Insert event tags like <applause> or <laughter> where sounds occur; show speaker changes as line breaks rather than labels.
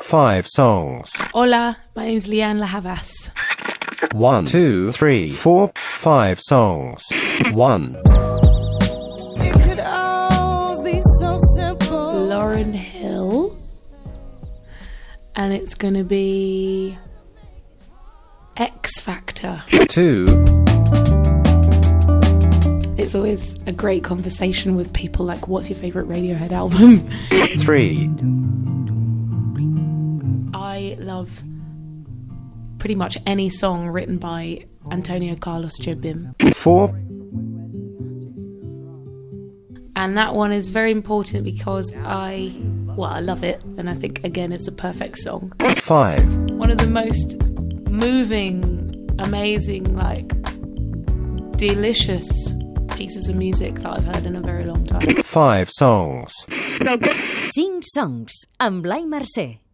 five songs.
Hola, my name's Leanne Lahavas.
One, two, three, four, five songs. One,
It could all be so simple.
Lauren Hill. And it's going to be X Factor.
two,
It's always a great conversation with people like, what's your favourite Radiohead album?
three,
<laughs> I love pretty much any song written by Antonio Carlos Jobim.
four,
And that one is very important because I, well, I love it. And I think, again, it's a perfect song.
five,
one of the most moving, amazing, like delicious pieces of music that I've heard in a very long time.
five songs.
Cinc songs amb Blai Mercè.